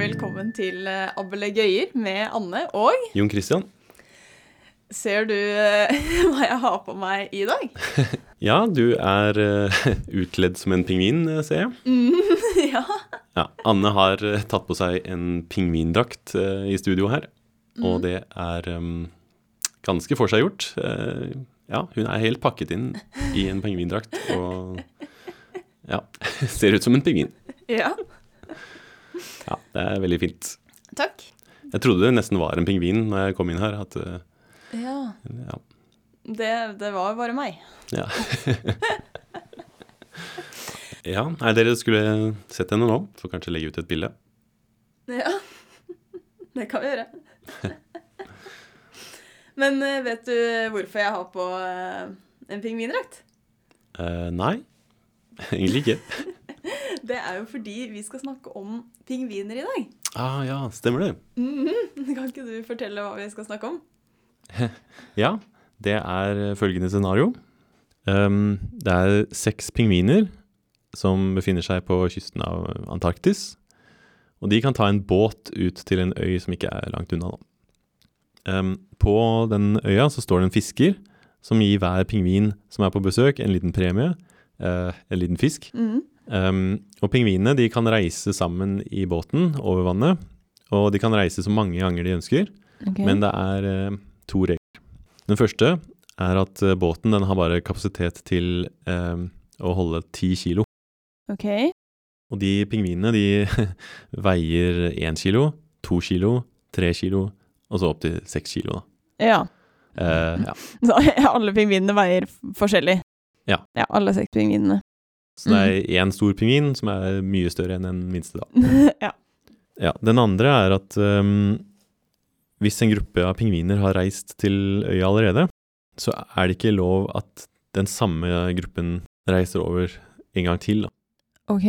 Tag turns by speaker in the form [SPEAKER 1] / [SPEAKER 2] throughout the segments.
[SPEAKER 1] velkommen til eh, Abele Gøyer med Anne. Og
[SPEAKER 2] Jon Christian?
[SPEAKER 1] ser du eh, hva jeg har på meg i dag?
[SPEAKER 2] Ja, du er eh, utkledd som en pingvin, eh, ser jeg.
[SPEAKER 1] ja.
[SPEAKER 2] Ja, Anne har eh, tatt på seg en pingvindrakt eh, i studio her, og det er em, ganske forseggjort. Eh, ja, hun er helt pakket inn i en pingvindrakt og ja, ser ut som en pingvin.
[SPEAKER 1] Ja.
[SPEAKER 2] Ja, det er veldig fint.
[SPEAKER 1] Takk.
[SPEAKER 2] Jeg trodde det nesten var en pingvin når jeg kom inn her. At, eh,
[SPEAKER 1] Ja.
[SPEAKER 2] ja,
[SPEAKER 1] Det, det var bare meg.
[SPEAKER 2] Ja. ja, nei, dere skulle sett henne nå. Får kanskje legge ut et bilde.
[SPEAKER 1] Ja. Det kan vi gjøre. Men eh, vet du hvorfor jeg har på eh, en pingvindrakt?
[SPEAKER 2] Eh, nei, egentlig ikke.
[SPEAKER 1] Det er jo fordi vi skal snakke om pingviner i dag.
[SPEAKER 2] Ah, ja, stemmer det.
[SPEAKER 1] Mhm. Kan ikke du fortelle hva vi skal snakke om?
[SPEAKER 2] Ja, det er eh, følgende scenario. Ehm, det er seks pingviner som befinner seg på kysten av Antarktis. Og de kan ta en båt ut til en øy som ikke er langt unna. da. Ehm, på den øya så står det en fisker som gir hver pingvin som er på besøk, en liten premie. eh, en liten fisk.
[SPEAKER 1] Mhm.
[SPEAKER 2] Ehm, og pingvinene de kan reise sammen i båten over vannet. Og de kan reise så mange ganger de ønsker. Men det er eh, to regler. Den første er at eh, båten den har bare kapasitet til eh, å holde ti kilo.
[SPEAKER 1] OK.
[SPEAKER 2] Og de pingvinene de veier én kilo, to kilo, tre kilo og så opp til seks kilo. Da.
[SPEAKER 1] Ja.
[SPEAKER 2] Eh, ja.
[SPEAKER 1] Så alle pingvinene veier f- forskjellig?
[SPEAKER 2] Ja.
[SPEAKER 1] ja. Alle seks pingvinene.
[SPEAKER 2] Så det er én stor pingvin som er mye større enn den minste. Da.
[SPEAKER 1] ja.
[SPEAKER 2] Ja, den andre er at ehm, hvis en gruppe av pingviner har reist til øya allerede, så er det ikke lov at den samme gruppen reiser over en gang til. Da.
[SPEAKER 1] Ok.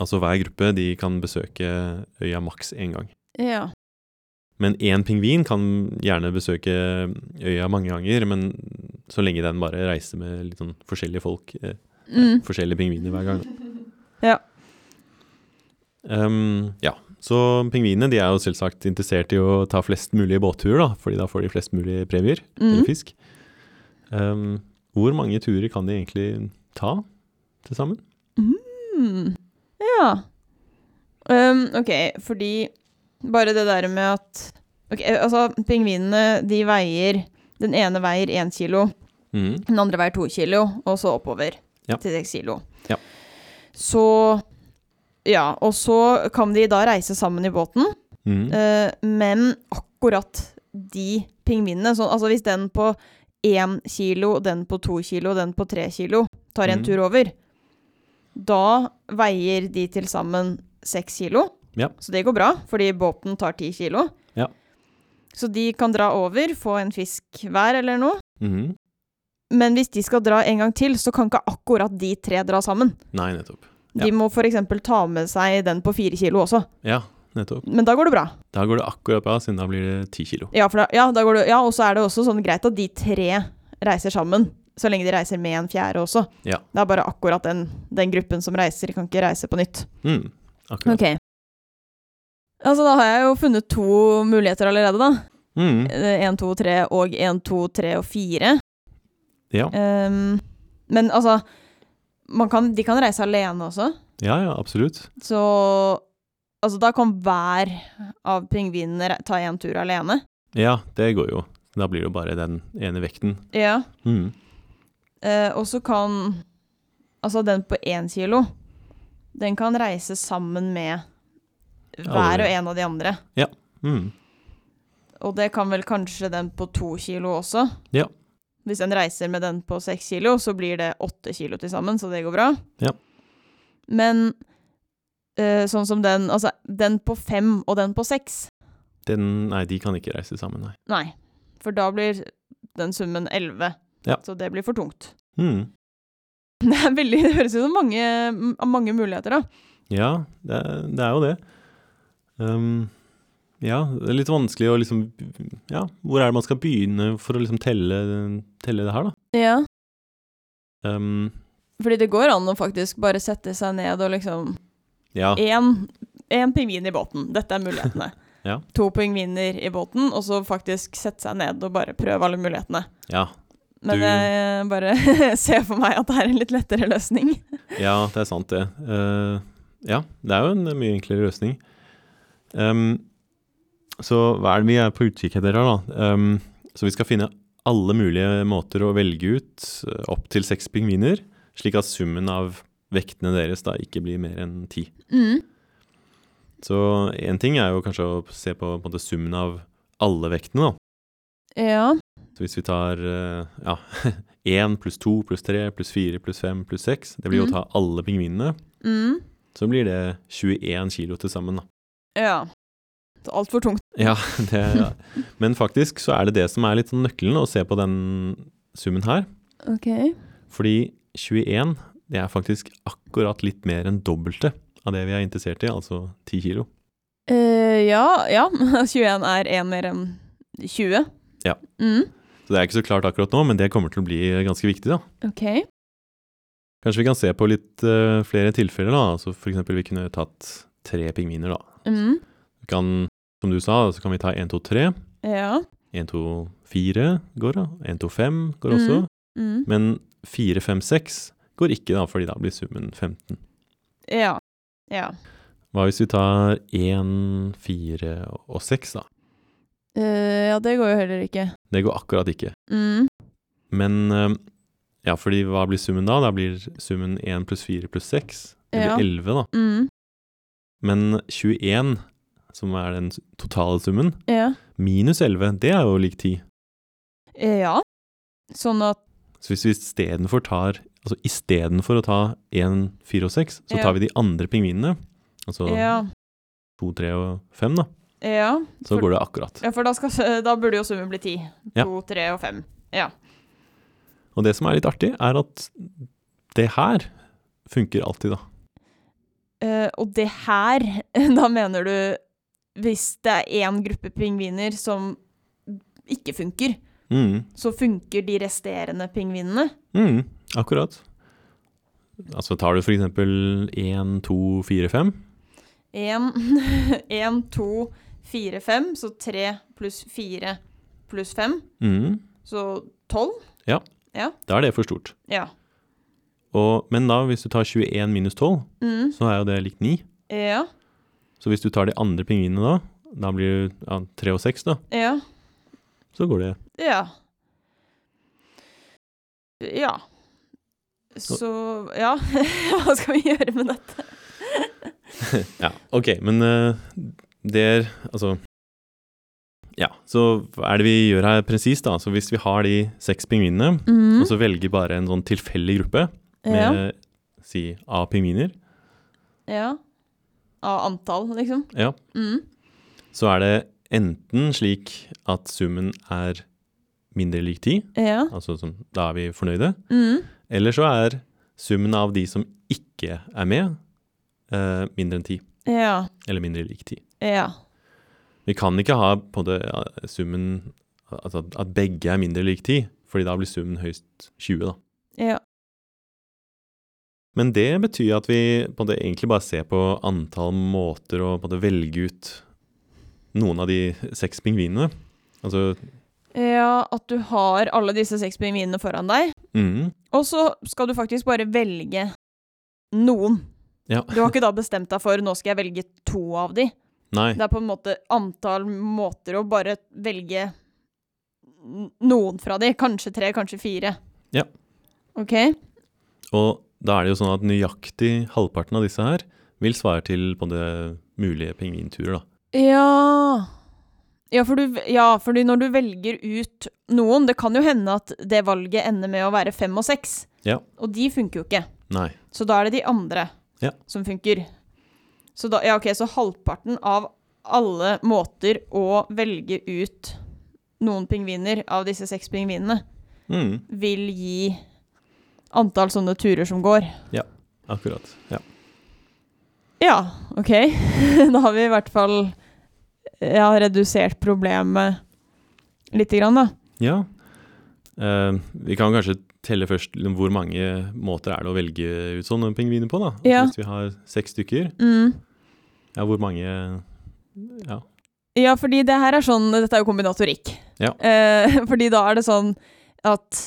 [SPEAKER 2] Altså hver gruppe de kan besøke øya maks én gang.
[SPEAKER 1] Ja.
[SPEAKER 2] Men én pingvin kan gjerne besøke øya mange ganger, men så lenge den bare reiser med litt sånn forskjellige folk, eh,
[SPEAKER 1] Mm.
[SPEAKER 2] forskjellige pingviner hver gang.
[SPEAKER 1] Ja.
[SPEAKER 2] Ehm, ja, så pingvinene de er jo selvsagt interessert i å ta flest mulig båtturer, da, fordi da får de flest mulig premier eller
[SPEAKER 1] Mm.
[SPEAKER 2] fisk. Ehm, hvor mange turer kan de egentlig ta til sammen?
[SPEAKER 1] Mm. Ja. Um, ok, fordi bare det der med at Ok, altså, pingvinene, de veier Den ene veier én kilo.
[SPEAKER 2] Mhm.
[SPEAKER 1] Den andre veier to kilo, og så oppover
[SPEAKER 2] Ja.
[SPEAKER 1] til seks kilo.
[SPEAKER 2] Ja.
[SPEAKER 1] Så Ja, og så kan de da reise sammen i båten,
[SPEAKER 2] Mhm.
[SPEAKER 1] eh, men akkurat de pingvinene så, Altså hvis den på én kilo, den på to kilo, den på tre kilo tar en
[SPEAKER 2] Mm.
[SPEAKER 1] tur over, da veier de til sammen seks kilo.
[SPEAKER 2] Ja.
[SPEAKER 1] Så det går bra, fordi båten tar ti kilo.
[SPEAKER 2] Ja.
[SPEAKER 1] Så de kan dra over, få en fisk hver eller noe.
[SPEAKER 2] Mhm.
[SPEAKER 1] Men hvis de skal dra en gang til, så kan ikke akkurat de tre dra sammen.
[SPEAKER 2] Nei, nettopp.
[SPEAKER 1] De
[SPEAKER 2] Ja.
[SPEAKER 1] må f.eks. ta med seg den på fire kilo også.
[SPEAKER 2] Ja, nettopp.
[SPEAKER 1] Men da går det bra.
[SPEAKER 2] Da går det akkurat bra, siden da blir det ti kilo.
[SPEAKER 1] Ja, for da, ja, da går det, ja og så er det også sånn greit at de tre reiser sammen. Så lenge de reiser med en fjerde også.
[SPEAKER 2] Ja.
[SPEAKER 1] Det er bare akkurat den, den gruppen som reiser, kan ikke reise på nytt.
[SPEAKER 2] Mhm. Akkurat.
[SPEAKER 1] Altså, da har jeg jo funnet to muligheter allerede, da.
[SPEAKER 2] Mhm.
[SPEAKER 1] Én, to, tre og én, to, tre og fire.
[SPEAKER 2] Ja.
[SPEAKER 1] Ehm, men altså man kan, De kan reise alene også.
[SPEAKER 2] ja, ja, absolutt.
[SPEAKER 1] Så altså, da kan hver av pingvinene re- ta en tur alene.
[SPEAKER 2] Ja, det går jo. Da blir det jo bare den ene vekten.
[SPEAKER 1] Ja.
[SPEAKER 2] Mhm.
[SPEAKER 1] Eh, og så kan altså den på én kilo, den kan reise sammen med hver og en av de andre.
[SPEAKER 2] Mhm.
[SPEAKER 1] Og det kan vel kanskje den på to kilo også.
[SPEAKER 2] Ja.
[SPEAKER 1] Hvis en reiser med den på seks kilo, så blir det åtte kilo til sammen, så det går bra.
[SPEAKER 2] Ja.
[SPEAKER 1] Men eh, sånn som den Altså, den på fem og den på seks
[SPEAKER 2] Den, nei, de kan ikke reise sammen, nei.
[SPEAKER 1] Nei, for da blir den summen 11.
[SPEAKER 2] Ja.
[SPEAKER 1] Så det blir for tungt.
[SPEAKER 2] Mhm.
[SPEAKER 1] Det, er veldig, det høres ut som mange, m- mange muligheter, da.
[SPEAKER 2] Ja, det, er- det er jo det. Ehm, ja, det er litt vanskelig å liksom Ja, hvor er det man skal begynne for å liksom telle, telle det her, da?
[SPEAKER 1] Ja.
[SPEAKER 2] Ehm,
[SPEAKER 1] Fordi det går an å faktisk bare sette seg ned og liksom
[SPEAKER 2] ja,
[SPEAKER 1] Én Én pingvin i båten. Dette er mulighetene.
[SPEAKER 2] Ja.
[SPEAKER 1] To pingviner i båten, og så faktisk sette seg ned og bare prøve alle mulighetene.
[SPEAKER 2] Ja,
[SPEAKER 1] Men
[SPEAKER 2] Du-
[SPEAKER 1] jeg eh, bare ser for meg at det er en litt lettere løsning.
[SPEAKER 2] Ja, det er sant det. Eh, ja, det er jo en mye enklere løsning. Ehm, så hva er det vi er på utkikk etter her, da? Ehm, så vi skal finne alle mulige måter å velge ut eh, opp til seks pingviner, slik at summen av vektene deres da ikke blir mer enn ti.
[SPEAKER 1] Mm.
[SPEAKER 2] Så én ting er jo kanskje å se på, på en måte, summen av alle vektene, da.
[SPEAKER 1] Ja.
[SPEAKER 2] Så hvis vi tar eh, ja, 1 pluss 2 pluss 3 pluss 4 pluss 5 pluss 6, det blir jo å
[SPEAKER 1] Mhm.
[SPEAKER 2] ta alle pingvinene.
[SPEAKER 1] Mm.
[SPEAKER 2] så blir det 21 kilo til sammen. Da.
[SPEAKER 1] Ja. Så Altfor tungt.
[SPEAKER 2] Ja, det, men faktisk så er det det som er litt sånn nøkkelen å se på den summen her.
[SPEAKER 1] Ok. Eh,
[SPEAKER 2] Fordi 21 det er faktisk akkurat litt mer enn dobbelte av det vi er interessert i, altså 10 kilo.
[SPEAKER 1] ja, ja. 21 er én mer enn 20.
[SPEAKER 2] Ja.
[SPEAKER 1] Mm.
[SPEAKER 2] Så det er ikke så klart akkurat nå, men det kommer til å bli ganske viktig. da.
[SPEAKER 1] Ok.
[SPEAKER 2] Kanskje vi kan se på litt eh, flere tilfeller. da, altså F.eks. vi kunne tatt tre pingviner. da.
[SPEAKER 1] Mm.
[SPEAKER 2] Vi kan, som du sa, så kan vi ta 1, 2, 3.
[SPEAKER 1] Ja.
[SPEAKER 2] 1, 2, 4 går, da. 1, 2, 5 går også.
[SPEAKER 1] Mhm. Mm.
[SPEAKER 2] Men 4, 5, 6 går ikke, da, fordi da blir summen 15.
[SPEAKER 1] Ja. Ja.
[SPEAKER 2] Hva hvis vi tar 1, 4 og 6, da?
[SPEAKER 1] Eh, ja, det går jo heller ikke.
[SPEAKER 2] Det går akkurat ikke.
[SPEAKER 1] Mm.
[SPEAKER 2] Men eh, ja, fordi hva blir summen da? Da blir summen 1 pluss 4 pluss 6. Det blir
[SPEAKER 1] Ja.
[SPEAKER 2] 11, da.
[SPEAKER 1] Mm.
[SPEAKER 2] Men 21, som er den totale summen,
[SPEAKER 1] Ja.
[SPEAKER 2] minus 11, det er jo lik 10.
[SPEAKER 1] Eh, ja. Sånn at
[SPEAKER 2] Så hvis vi istedenfor tar Altså istedenfor å ta 1, 4 og 6, så
[SPEAKER 1] Ja.
[SPEAKER 2] tar vi de andre pingvinene. Altså
[SPEAKER 1] Ja.
[SPEAKER 2] 2, 3 og 5, da.
[SPEAKER 1] Ja.
[SPEAKER 2] Så
[SPEAKER 1] For-
[SPEAKER 2] går det akkurat.
[SPEAKER 1] Ja, for da, skal, da burde jo summen bli ti.
[SPEAKER 2] Ja.
[SPEAKER 1] To, tre og fem.
[SPEAKER 2] Og det som er litt artig, er at det her funker alltid, da.
[SPEAKER 1] Eh, og det her, da mener du hvis det er én gruppe pingviner som ikke funker,
[SPEAKER 2] Mm.
[SPEAKER 1] så funker de resterende pingvinene?
[SPEAKER 2] Mm. Akkurat. Altså tar du for eksempel 1, 2, 4, 5.
[SPEAKER 1] Én, én, to, fire, fem. Så tre pluss fire pluss fem.
[SPEAKER 2] Mm.
[SPEAKER 1] Så tolv?
[SPEAKER 2] Da er det for stort.
[SPEAKER 1] Ja.
[SPEAKER 2] Og, men da, hvis du tar 21 minus 12,
[SPEAKER 1] Mm,
[SPEAKER 2] så er jo det likt 9.
[SPEAKER 1] ja.
[SPEAKER 2] Så hvis du tar de andre pingvinene da, da blir det ja, 3 og 6, da.
[SPEAKER 1] Ja.
[SPEAKER 2] Så går det
[SPEAKER 1] Ja. Ja. Så Ja, hva skal vi gjøre med dette?
[SPEAKER 2] Ja, OK, men eh, det er Altså Ja, så hva er det vi gjør her presist, da? Så hvis vi har de seks pingvinene, og så velger bare en sånn tilfeldig gruppe med
[SPEAKER 1] Mm. ja.
[SPEAKER 2] si A pingviner,
[SPEAKER 1] ja. Av antall, liksom.
[SPEAKER 2] Ja.
[SPEAKER 1] Mm.
[SPEAKER 2] så er det enten slik at summen er mindre lik 10,
[SPEAKER 1] Ja.
[SPEAKER 2] altså som, da er vi fornøyde,
[SPEAKER 1] Mm.
[SPEAKER 2] eller så er summen av de som ikke er med, eh, mindre enn 10,
[SPEAKER 1] Ja.
[SPEAKER 2] eller mindre lik 10.
[SPEAKER 1] Ja.
[SPEAKER 2] Vi kan ikke ha på det, ja, summen altså at- at begge er mindre lik 10, fordi da blir summen høyst 20, da.
[SPEAKER 1] Ja.
[SPEAKER 2] Men det betyr at vi på en måte egentlig bare ser på antall måter å på en måte velge ut noen av de seks pingvinene. Altså
[SPEAKER 1] ja. At du har alle disse seks pingvinene foran deg,
[SPEAKER 2] mm,
[SPEAKER 1] og så skal du faktisk bare velge noen.
[SPEAKER 2] Ja.
[SPEAKER 1] Du har ikke da bestemt deg for 'nå skal jeg velge to av de'.
[SPEAKER 2] Nei.
[SPEAKER 1] Det er på en måte antall måter å bare velge n- noen fra de. Kanskje tre, kanskje fire.
[SPEAKER 2] Ja.
[SPEAKER 1] Ok.
[SPEAKER 2] Og da er det jo sånn at nøyaktig halvparten av disse her vil svare til på det mulige pingvinturer, da.
[SPEAKER 1] Ja ja, for du, ja, fordi når du velger ut noen Det kan jo hende at det valget ender med å være fem og seks.
[SPEAKER 2] Ja.
[SPEAKER 1] Og de funker jo ikke.
[SPEAKER 2] Nei.
[SPEAKER 1] Så da er det de andre
[SPEAKER 2] Ja.
[SPEAKER 1] som funker. Så da, ja, ok, så halvparten av alle måter å velge ut noen pingviner av disse seks pingvinene
[SPEAKER 2] Mm,
[SPEAKER 1] vil gi antall sånne turer som går.
[SPEAKER 2] akkurat. Ja.
[SPEAKER 1] Ja, OK. Da har vi i hvert fall ja, redusert problemet lite grann, da.
[SPEAKER 2] ja. Eh, vi kan kanskje telle først liksom, hvor mange måter er det å velge ut sånne pingviner på, da. Altså,
[SPEAKER 1] Ja.
[SPEAKER 2] Hvis vi har seks stykker,
[SPEAKER 1] Mm.
[SPEAKER 2] Ja, hvor mange Ja.
[SPEAKER 1] Ja, fordi det her er sånn Dette er jo kombinatorikk.
[SPEAKER 2] Ja.
[SPEAKER 1] Eh, fordi da er det sånn at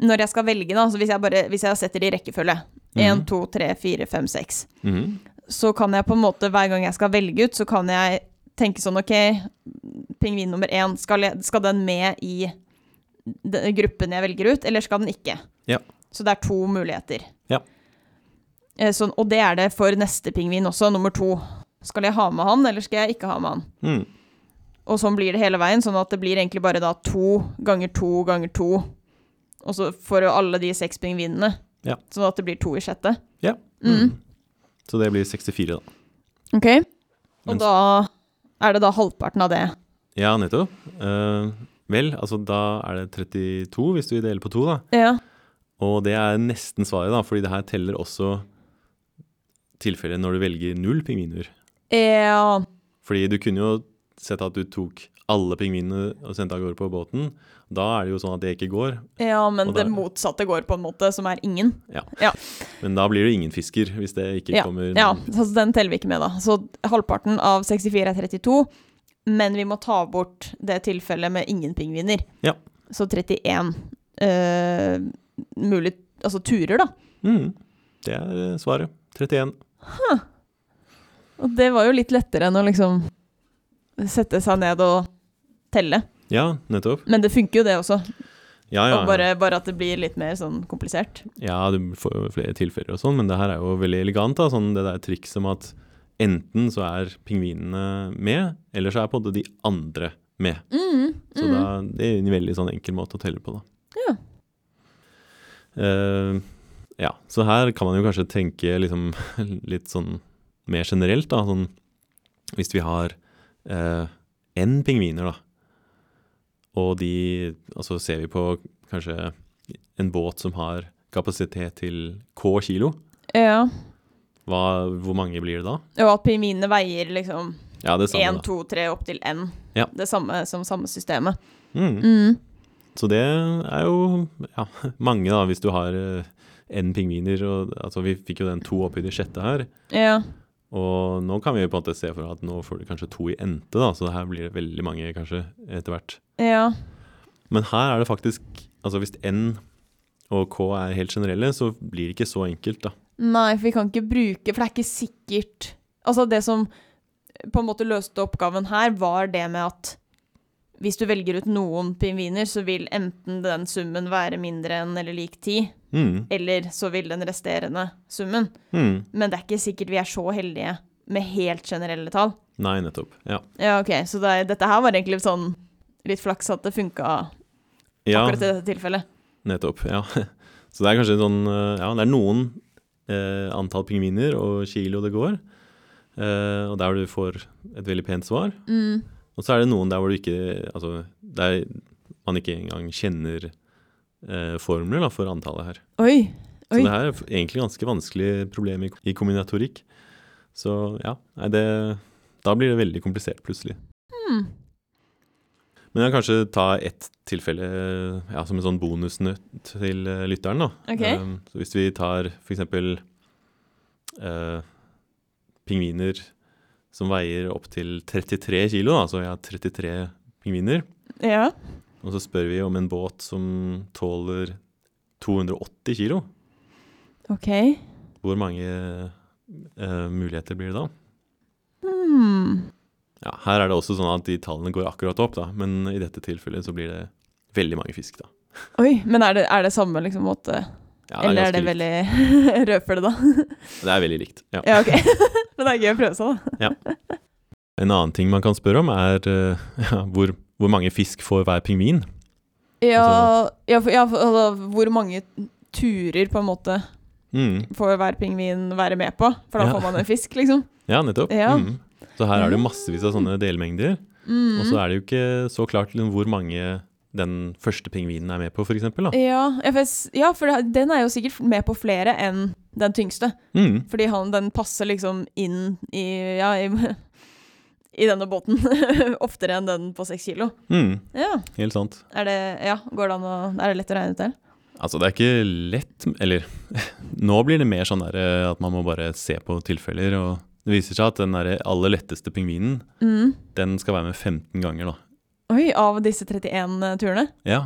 [SPEAKER 1] når jeg skal velge, da, så hvis jeg, bare, hvis jeg setter det i rekkefølge
[SPEAKER 2] Mhm.
[SPEAKER 1] 1, 2, 3, 4, 5, 6
[SPEAKER 2] Mhm.
[SPEAKER 1] Så kan jeg på en måte, hver gang jeg skal velge ut, så kan jeg tenke sånn OK, pingvin nummer én, skal, jeg, skal den med i den gruppen jeg velger ut, eller skal den ikke?
[SPEAKER 2] Ja.
[SPEAKER 1] Så det er to muligheter.
[SPEAKER 2] Ja.
[SPEAKER 1] Eh, Sånn, og det er det for neste pingvin også, nummer to. Skal jeg ha med han, eller skal jeg ikke ha med han?
[SPEAKER 2] Mhm.
[SPEAKER 1] Og sånn blir det hele veien, sånn at det blir egentlig bare da to ganger to ganger to. Og så får jo alle de seks pingvinene.
[SPEAKER 2] Ja.
[SPEAKER 1] Sånn at det blir to i sjette.
[SPEAKER 2] Ja.
[SPEAKER 1] Mm.
[SPEAKER 2] Mhm. Så det blir 64, da.
[SPEAKER 1] Ok. Og
[SPEAKER 2] Mens-
[SPEAKER 1] da er det da halvparten av det.
[SPEAKER 2] Ja, nettopp. Eh, vel, altså da er det 32 hvis du deler på to, da.
[SPEAKER 1] Ja.
[SPEAKER 2] Og det er nesten svaret, da, fordi det her teller også tilfellet når du velger null pingviner.
[SPEAKER 1] Ja.
[SPEAKER 2] Fordi du kunne jo sett at du tok alle pingvinene og sendte av gårde på båten. Da er det jo sånn at det ikke går,
[SPEAKER 1] ja, men
[SPEAKER 2] Og da-
[SPEAKER 1] det motsatte går på en måte, som er ingen.
[SPEAKER 2] men da blir det ingen fisker hvis det ikke
[SPEAKER 1] Ja,
[SPEAKER 2] kommer
[SPEAKER 1] Ja, så den teller vi ikke med, da. Så halvparten av 64 er 32, men vi må ta bort det tilfellet med ingen pingviner.
[SPEAKER 2] Ja.
[SPEAKER 1] Så 31 eh, mulig Altså turer, da.
[SPEAKER 2] Mhm. Det er eh, svaret. 31.
[SPEAKER 1] Og det var jo litt lettere enn å liksom sette seg ned og telle.
[SPEAKER 2] Ja, nettopp.
[SPEAKER 1] Men det funker jo, det også.
[SPEAKER 2] Ja, ja, ja.
[SPEAKER 1] Og bare, bare at det blir litt mer sånn komplisert.
[SPEAKER 2] Ja, du får jo flere tilfeller og sånn, men det her er jo veldig elegant. da, sånn Det der trikset med at enten så er pingvinene med, eller så er på en måte de andre med.
[SPEAKER 1] Mm,
[SPEAKER 2] Så da, det er en veldig sånn enkel måte å telle på, da.
[SPEAKER 1] Ja.
[SPEAKER 2] Eh, ja, så her kan man jo kanskje tenke liksom litt sånn mer generelt, da. Sånn hvis vi har én pingviner, da, og de Og så ser vi på kanskje en båt som har kapasitet til K kilo,
[SPEAKER 1] Ja.
[SPEAKER 2] hva, hvor mange blir det da?
[SPEAKER 1] Og at pingvinene veier liksom
[SPEAKER 2] Ja, det er
[SPEAKER 1] 1,
[SPEAKER 2] samme, da.
[SPEAKER 1] 2, 3 opp til N.
[SPEAKER 2] Ja.
[SPEAKER 1] Det samme som samme systemet.
[SPEAKER 2] Mm. Så det er jo ja, mange, da, hvis du har én pingviner. Og, altså, vi fikk jo den to oppi det sjette her.
[SPEAKER 1] Ja.
[SPEAKER 2] Og nå kan vi på en måte se for at nå får du kanskje to i ente, da, så her blir det veldig mange kanskje etter hvert.
[SPEAKER 1] Ja.
[SPEAKER 2] Men her er det faktisk Altså hvis N og K er helt generelle, så blir det ikke så enkelt, da.
[SPEAKER 1] Nei, for vi kan ikke bruke For det er ikke sikkert Altså, det som på en måte løste oppgaven her, var det med at hvis du velger ut noen pingviner, så vil enten den summen være mindre enn eller lik 10,
[SPEAKER 2] Mm.
[SPEAKER 1] eller så vil den resterende summen.
[SPEAKER 2] Mm.
[SPEAKER 1] Men det er ikke sikkert vi er så heldige med helt generelle tall.
[SPEAKER 2] Nei, nettopp. Ja.
[SPEAKER 1] Ja, OK, så det, er- dette her var egentlig sånn litt flaks at det funka
[SPEAKER 2] ja
[SPEAKER 1] akkurat i dette tilfellet.
[SPEAKER 2] nettopp. Ja. Så det er kanskje en sånn eh, Ja, det er noen eh, antall pingviner og kilo det går, eh, og der du får et veldig pent svar.
[SPEAKER 1] Mm.
[SPEAKER 2] Og så er det noen der hvor du ikke Altså der man ikke engang kjenner eh, formler da, for antallet her.
[SPEAKER 1] Oi.
[SPEAKER 2] Så
[SPEAKER 1] Oi.
[SPEAKER 2] det her er egentlig ganske vanskelig problem i, i kombinatorikk. Så ja, nei, det, da blir det veldig komplisert plutselig.
[SPEAKER 1] Hmm.
[SPEAKER 2] Men jeg kan kanskje ta ett tilfelle ja, som en sånn bonusnøtt til eh, lytteren. da.
[SPEAKER 1] Ok.
[SPEAKER 2] Um, så hvis vi tar f.eks. Uh, pingviner som veier opptil 33 kilo, da, så jeg har 33 pingviner,
[SPEAKER 1] Ja.
[SPEAKER 2] og så spør vi om en båt som tåler 280 kilo.
[SPEAKER 1] OK.
[SPEAKER 2] Hvor mange eh, muligheter blir det da?
[SPEAKER 1] Hmm.
[SPEAKER 2] Ja, her er det også sånn at de tallene går akkurat opp, da, men i dette tilfellet så blir det veldig mange fisk. da.
[SPEAKER 1] Oi, men er det, er det samme liksom, måte?
[SPEAKER 2] Ja,
[SPEAKER 1] Eller er det
[SPEAKER 2] ganske likt.
[SPEAKER 1] veldig rødfølge, da?
[SPEAKER 2] Det er veldig likt. Ja.
[SPEAKER 1] ja, OK. men det er gøy å prøve seg, da.
[SPEAKER 2] En annen ting man kan spørre om, er eh, ja, hvor, hvor mange fisk får hver pingvin?
[SPEAKER 1] Ja,
[SPEAKER 2] Altså-
[SPEAKER 1] ja, for, ja for, altså, hvor mange turer på en måte
[SPEAKER 2] Mm.
[SPEAKER 1] får hver pingvin være med på? For da
[SPEAKER 2] Ja.
[SPEAKER 1] får man en fisk, liksom.
[SPEAKER 2] Ja, nettopp.
[SPEAKER 1] Ja.
[SPEAKER 2] Mm. Så her er det jo massevis av sånne delmengder.
[SPEAKER 1] Mm.
[SPEAKER 2] Og så er det jo ikke så klart liksom, hvor mange den første pingvinen er med på, f.eks.
[SPEAKER 1] Mm. Ja, jeg fes- ja, for det- den er jo sikkert med på flere enn den tyngste.
[SPEAKER 2] Mm.
[SPEAKER 1] Fordi han, den passer liksom inn i, ja, i, i denne båten oftere enn den på seks kilo.
[SPEAKER 2] Mm.
[SPEAKER 1] Ja,
[SPEAKER 2] Helt sant.
[SPEAKER 1] er det, ja, går det an å, er det lett å regne ut det?
[SPEAKER 2] Altså, det er ikke lett Eller nå blir det mer sånn der eh, at man må bare se på tilfeller, og Det viser seg at den der aller letteste pingvinen
[SPEAKER 1] Mm.
[SPEAKER 2] den skal være med 15 ganger. da.
[SPEAKER 1] Oi, av disse 31 turene?
[SPEAKER 2] Ja,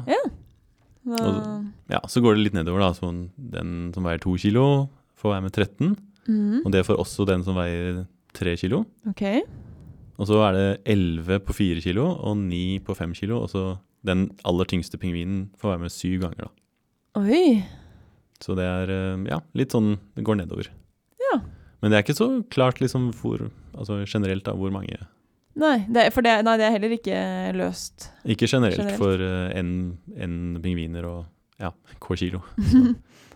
[SPEAKER 1] Da,
[SPEAKER 2] ja Så går det litt nedover. da, så Den som veier 2 kilo, får være med 13.
[SPEAKER 1] mm.
[SPEAKER 2] Og det får også den som veier 3 kilo.
[SPEAKER 1] Ok.
[SPEAKER 2] Og så er det 11 på 4 kilo og 9 på 5 kilo. Og så den aller tyngste pingvinen får være med syv ganger. da.
[SPEAKER 1] Oi.
[SPEAKER 2] Så det er eh, ja, litt sånn det går nedover.
[SPEAKER 1] Ja.
[SPEAKER 2] Men det er ikke så klart liksom hvor, altså generelt da, hvor mange.
[SPEAKER 1] Nei det, er- for det, nei, det er heller ikke løst.
[SPEAKER 2] Ikke generelt,
[SPEAKER 1] Generelt.
[SPEAKER 2] for eh, en, en pingviner og ja, hver kilo.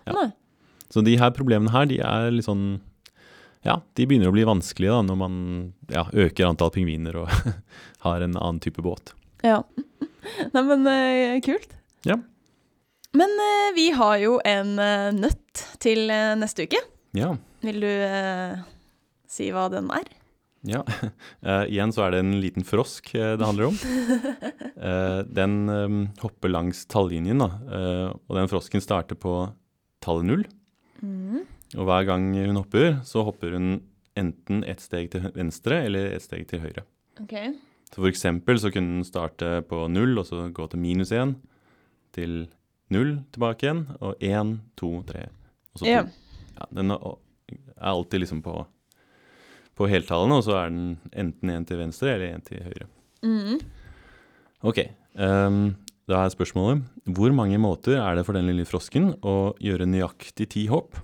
[SPEAKER 2] Ja.
[SPEAKER 1] Nei.
[SPEAKER 2] Så de her problemene her, de er litt sånn Ja, de begynner å bli vanskelige da, når man ja, øker antall pingviner og har en annen type båt.
[SPEAKER 1] Ja. Nei, men eh, kult.
[SPEAKER 2] Ja.
[SPEAKER 1] Men eh, vi har jo en eh, nøtt til eh, neste uke.
[SPEAKER 2] Ja.
[SPEAKER 1] Vil du eh, si hva den er?
[SPEAKER 2] Ja. Eh, igjen så er det en liten frosk eh, det handler om. Eh, den eh, hopper langs tallinjen, da, eh, og den frosken starter på tallet null.
[SPEAKER 1] Mm.
[SPEAKER 2] Og hver gang hun hopper, så hopper hun enten et steg til hø- venstre eller et steg til høyre.
[SPEAKER 1] Ok.
[SPEAKER 2] Så for eksempel så kunne den starte på null, og så gå til minus én, til null tilbake igjen, og én, to, tre, og så to.
[SPEAKER 1] Ja.
[SPEAKER 2] Ja, den er er alltid liksom på, på heltallene, og så er den enten én til venstre eller én til høyre.
[SPEAKER 1] Mhm.
[SPEAKER 2] Ok, ehm, da er spørsmålet Hvor mange måter er det for den lille frosken å gjøre nøyaktig ti hopp,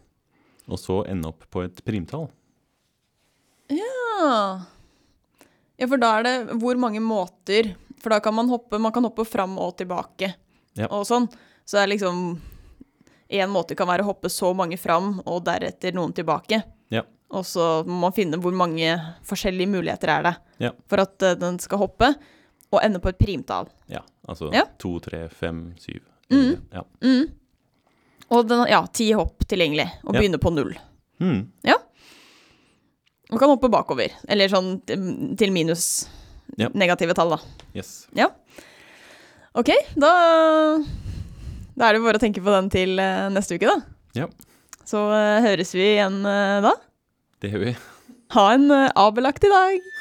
[SPEAKER 2] og så ende opp på et primtall?
[SPEAKER 1] Ah. Ja, for da er det hvor mange måter For da kan man hoppe Man kan hoppe fram og tilbake
[SPEAKER 2] Ja.
[SPEAKER 1] og sånn. Så det er liksom Én måte kan være å hoppe så mange fram og deretter noen tilbake.
[SPEAKER 2] Ja.
[SPEAKER 1] Og så må man finne hvor mange forskjellige muligheter er det
[SPEAKER 2] Ja.
[SPEAKER 1] for at eh, den skal hoppe og ende på et primtall.
[SPEAKER 2] Ja, altså
[SPEAKER 1] Ja.
[SPEAKER 2] to, tre, fem, syv.
[SPEAKER 1] Mhm.
[SPEAKER 2] Ja.
[SPEAKER 1] Mm. Og den, ja, ti hopp tilgjengelig, og
[SPEAKER 2] Ja.
[SPEAKER 1] begynne på null.
[SPEAKER 2] Hmm.
[SPEAKER 1] Man kan hoppe bakover, eller sånn til til minus
[SPEAKER 2] Ja.
[SPEAKER 1] negative tall, da.
[SPEAKER 2] Yes.
[SPEAKER 1] Ok, da, da er det bare å tenke på den til eh, neste uke, da.
[SPEAKER 2] Ja.
[SPEAKER 1] Så eh, høres vi igjen eh, da.
[SPEAKER 2] Det gjør vi.
[SPEAKER 1] Ha en eh, abelaktig dag!